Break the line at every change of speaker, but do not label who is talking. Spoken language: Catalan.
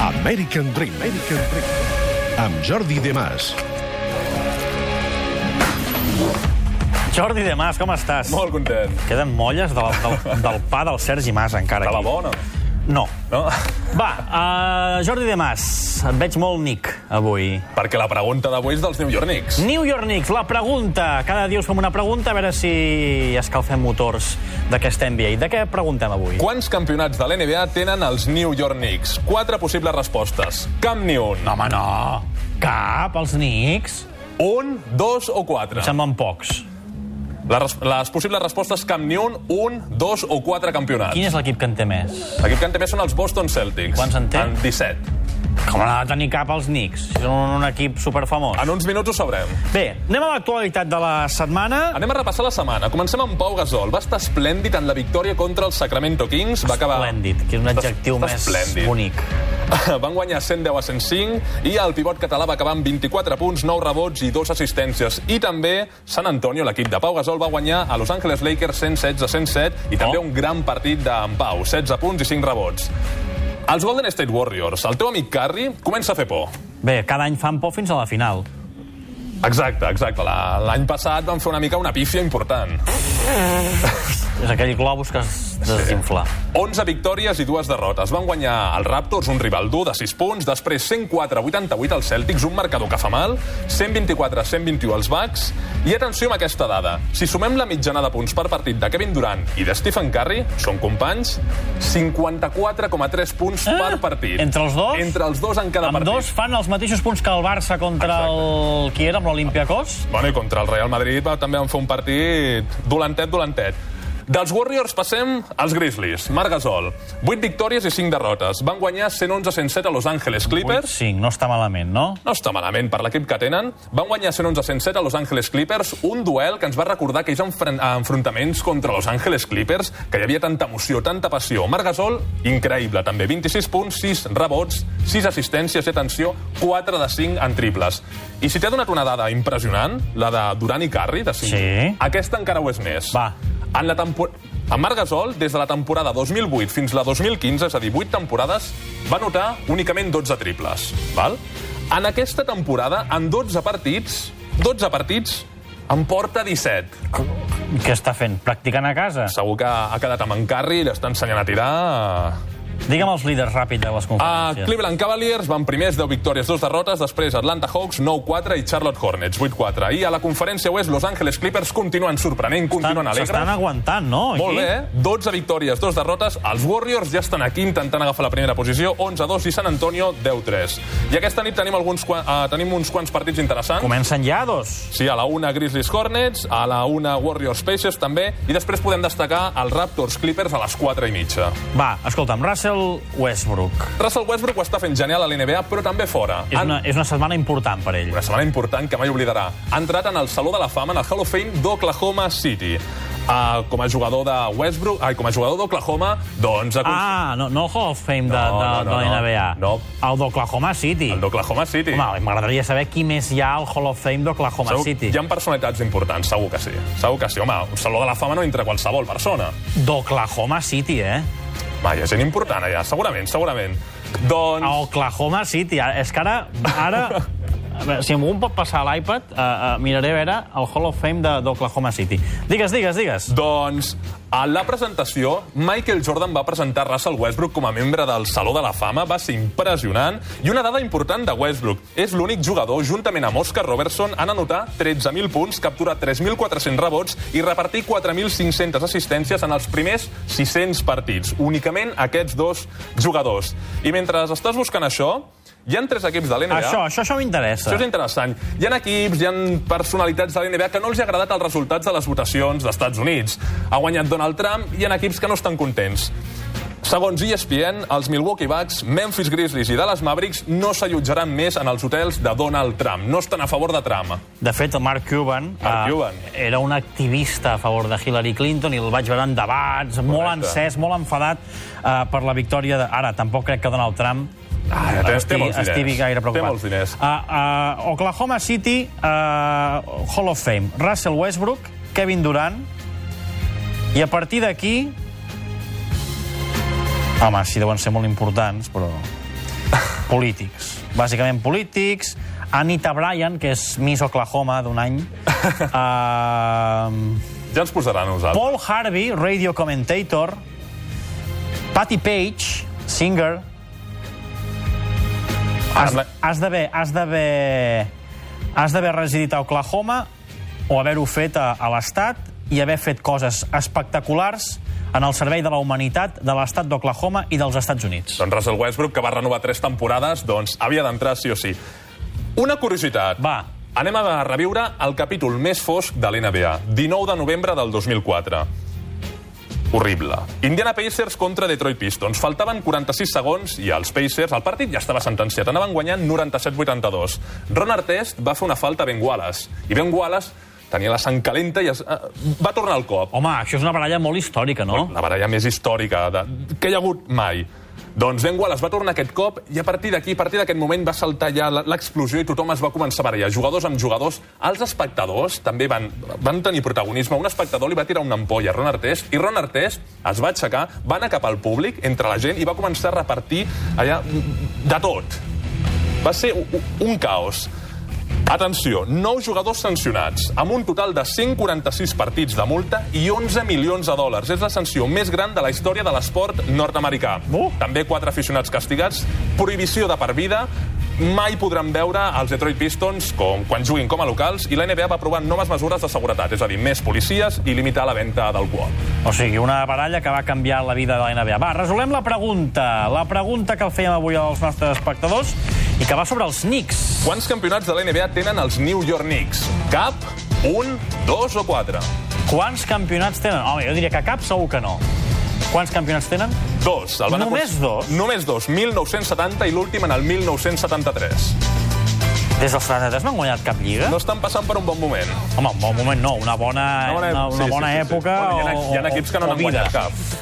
American Dream. American Dream. Amb Jordi Demàs.
Jordi de Mas, com estàs?
Molt content.
Queden molles del, del, del pa del Sergi Mas encara
De
aquí.
la bona.
No.
No?
Va, uh, Jordi de Mas, et veig molt Nick avui.
Perquè la pregunta d'avui és dels New York Knicks.
New York Knicks, la pregunta. Cada dia us fem una pregunta, a veure si escalfem motors d'aquesta NBA. De què preguntem avui?
Quants campionats de l'NBA tenen els New York Knicks? Quatre possibles respostes. Cap ni un.
No, home, no. Cap, els Knicks.
Un, dos o quatre?
Em semblen pocs.
La res les possibles respostes cap ni un, un, dos o quatre campionats.
Quin és l'equip que en té més?
L'equip que en té més són els Boston Celtics.
Quants en té?
En 17.
Com no ha de tenir cap els Knicks? Són un equip superfamós.
En uns minuts ho sabrem.
Bé, anem a l'actualitat de la setmana.
Anem a repassar la setmana. Comencem amb Pau Gasol. Va estar esplèndid en la victòria contra els Sacramento Kings. Va acabar...
Esplèndid, que és un
Està-
adjectiu
està
més
esplèndid.
bonic.
Van guanyar 110 a 105 i el pivot català va acabar amb 24 punts, 9 rebots i 2 assistències. I també San Antonio, l'equip de Pau Gasol, va guanyar a Los Angeles Lakers 116 a 107 i també
Oh.
un gran partit d'en Pau, 16 punts i 5 rebots. Els Golden State Warriors, el teu amic Curry comença a fer por.
Bé, cada any fan por fins a la final.
Exacte, exacte. La- L'any passat van fer una mica una pífia important.
És aquell globus que es desinfla.
11 victòries i dues derrotes. Van guanyar els Raptors, un rival dur de 6 punts, després 104-88 als Celtics, un marcador que fa mal, 124-121 als Bucks, i atenció amb aquesta dada. Si sumem la mitjana de punts per partit de Kevin Durant i de Stephen Curry, són companys, 54,3 punts
Ah,
per partit.
entre els dos?
Entre els dos en cada
Amb
partit.
dos fan els mateixos punts que el Barça contra el... Qui era? Amb l'Olimpiakos?
Bueno, i contra el Real Madrid va, també van fer un partit dolentet, dolentet. Dels Warriors passem als Grizzlies. Marc Gasol, 8 victòries i 5 derrotes. Van guanyar 111-107 a Los Angeles Clippers.
8-5, no està malament, no?
No està malament per l'equip que tenen. Van guanyar 111-107 a Los Angeles Clippers, un duel que ens va recordar aquells enfren- eh, enfrontaments contra Los Angeles Clippers, que hi havia tanta emoció, tanta passió. Marc Gasol, increïble, també. 26 punts, 6 rebots, 6 assistències i atenció, 4 de 5 en triples. I si t'he donat una dada impressionant, la de Durant i Curry, de 5,
Sí.
aquesta encara ho és més.
Va.
En la temporada... En Marc Gasol, des de la temporada 2008 fins la 2015, és a dir, 8 temporades, va anotar únicament 12 triples. Val? En aquesta temporada, en 12 partits, 12 partits, en porta 17.
Què està fent? Practicant a casa?
Segur que ha quedat amb en Curry, l'està ensenyant a tirar...
Digue'm els líders ràpid de les
A
conferències.
Cleveland Cavaliers van primers 10 victòries, 2 derrotes, després Atlanta Hawks 9-4 i Charlotte Hornets 8-4. I a la conferència oest, Los Angeles Clippers continuen sorprenent, continuen
Estan-
alegres.
S'estan aguantant, no? aquí?
Molt bé, eh? 12 victòries, 2 derrotes. Els Warriors ja estan aquí intentant agafar la primera posició, 11-2 i San Antonio 10-3. I aquesta nit tenim, alguns, qua- eh, tenim uns quants partits interessants.
Comencen ja dos.
Sí, a la una Grizzlies Hornets, a la una Warriors Pacers també, i després podem destacar els Raptors Clippers a les 4 i mitja.
Va, escolta'm, Russell Westbrook.
Russell Westbrook ho està fent genial a l'NBA, però també fora.
És una, és una setmana important per ell.
Una setmana important que mai oblidarà. Ha entrat en el Saló de la Fama, en el Hall of Fame d'Oklahoma City. Uh, com a jugador de Westbrook, ai, com a jugador d'Oklahoma, doncs... acon-
Ah, no, no el Hall of Fame de,
No,
de,
no, no,
de la NBA.
no.
El d'Oklahoma City.
El d'Oklahoma City.
Home, m'agradaria saber qui més hi ha al Hall of Fame d'Oklahoma
Segur-
City.
Hi ha personalitats importants, segur que sí. Segur que sí. Home, un saló de la fama no entra qualsevol persona.
D'Oklahoma City, eh?
Home, hi ha gent important allà, segurament, segurament.
A
Doncs...
Oklahoma City. Ara- És que ara... ara a veure, si algú em pot passar l'iPad, eh, eh, miraré a veure el Hall of Fame de- d'Oklahoma City. Digues, digues, digues.
Doncs, a la presentació, Michael Jordan va presentar Russell Westbrook com a membre del Saló de la Fama. Va ser impressionant. I una dada important de Westbrook. És l'únic jugador, juntament amb Oscar Robertson, en anotar 13.000 punts, capturar 3.400 rebots i repartir 4.500 assistències en els primers 600 partits. Únicament aquests dos jugadors. I mentre estàs buscant això, hi han tres equips de l'NBA...
Això, això, això m'interessa.
Això és interessant. Hi ha equips, hi ha personalitats de l'NBA que no els ha agradat els resultats de les votacions d'Estats Units. Ha guanyat Donald Trump i hi ha equips que no estan contents. Segons E ESPN, els Milwaukee Bucks, Memphis Grizzlies i Dallas Mavericks no s'allotjaran més en els hotels de Donald Trump. No estan a favor de Trump.
De fet, el Mark Cuban,
Mark
eh,
Cuban.
era un activista a favor de Hillary Clinton i el vaig veure en debats, Correcte. molt encès, molt enfadat eh, per la victòria de... Ara, tampoc crec que Donald Trump
Ah, ja té- té molts diners.
estigui gaire
Té
preocupat.
molts diners.
Uh, uh, Oklahoma City, uh, Hall of Fame, Russell Westbrook, Kevin Durant, i a partir d'aquí... Home, sí, deuen ser molt importants, però... polítics. Bàsicament polítics. Anita Bryan, que és Miss Oklahoma d'un any. Uh,
Ja ens posarà a nosaltres.
Paul Harvey, radio commentator. Patty Page, singer. Has,
Parla-
has d'haver... Has d'haver... Has d'haver residit a Oklahoma o haver-ho fet a, a l'Estat i haver fet coses espectaculars en el servei de la humanitat de l'Estat d'Oklahoma i dels Estats Units.
Doncs Russell Westbrook, que va renovar tres temporades, doncs havia d'entrar sí o sí. Una curiositat.
Va.
Anem a reviure el capítol més fosc de l'NBA. 19 de novembre del 2004. Horrible. Indiana Pacers contra Detroit Pistons. Faltaven 46 segons i els Pacers, el partit ja estava sentenciat. Anaven guanyant 97-82. Ron Artest va fer una falta a Ben Wallace. I Ben Wallace tenia la sang calenta i es, eh, va tornar al cop.
Home, això és una baralla molt històrica, no?
La baralla més històrica de... que hi ha hagut mai. Doncs Ben Wallace va tornar aquest cop i a partir d'aquí, a partir d'aquest moment va saltar ja la- l'explosió i tothom es va començar a barallar. Jugadors amb jugadors. Els espectadors també van, van tenir protagonisme. Un espectador li va tirar una ampolla a Ron Artest i Ron Artest es va aixecar, va anar cap al públic, entre la gent, i va començar a repartir allà de tot. Va ser u- u- un caos. Atenció, 9 jugadors sancionats, amb un total de 146 partits de multa i 11 milions de dòlars. És la sanció més gran de la història de l'esport nord-americà.
Uh.
També 4 aficionats castigats, prohibició de per vida, mai podran veure els Detroit Pistons com, quan juguin com a locals i la NBA va aprovar noves mesures de seguretat, és a dir, més policies i limitar la venda d'alcohol.
O sigui, una baralla que va canviar la vida de la NBA. Va, resolem la pregunta. La pregunta que fèiem avui als nostres espectadors i que va sobre els Knicks.
Quants campionats de la NBA tenen els New York Knicks? Cap? Un? Dos o quatre?
Quants campionats tenen? Home, jo diria que cap segur que no. Quants campionats tenen?
Dos. El van
Només
aconse-
dos?
Només dos. 1970 i l'últim en el 1973.
Des dels 73 no han guanyat cap lliga?
No
No.
estan passant per un bon moment.
Home, un bon moment Eh, no, una bona, una bona, una
sí,
bona
sí, sí, sí.
època
Bueno, hi ha,
o-
hi ha
o-
equips que no
o
n'han guanyat
vida.
cap.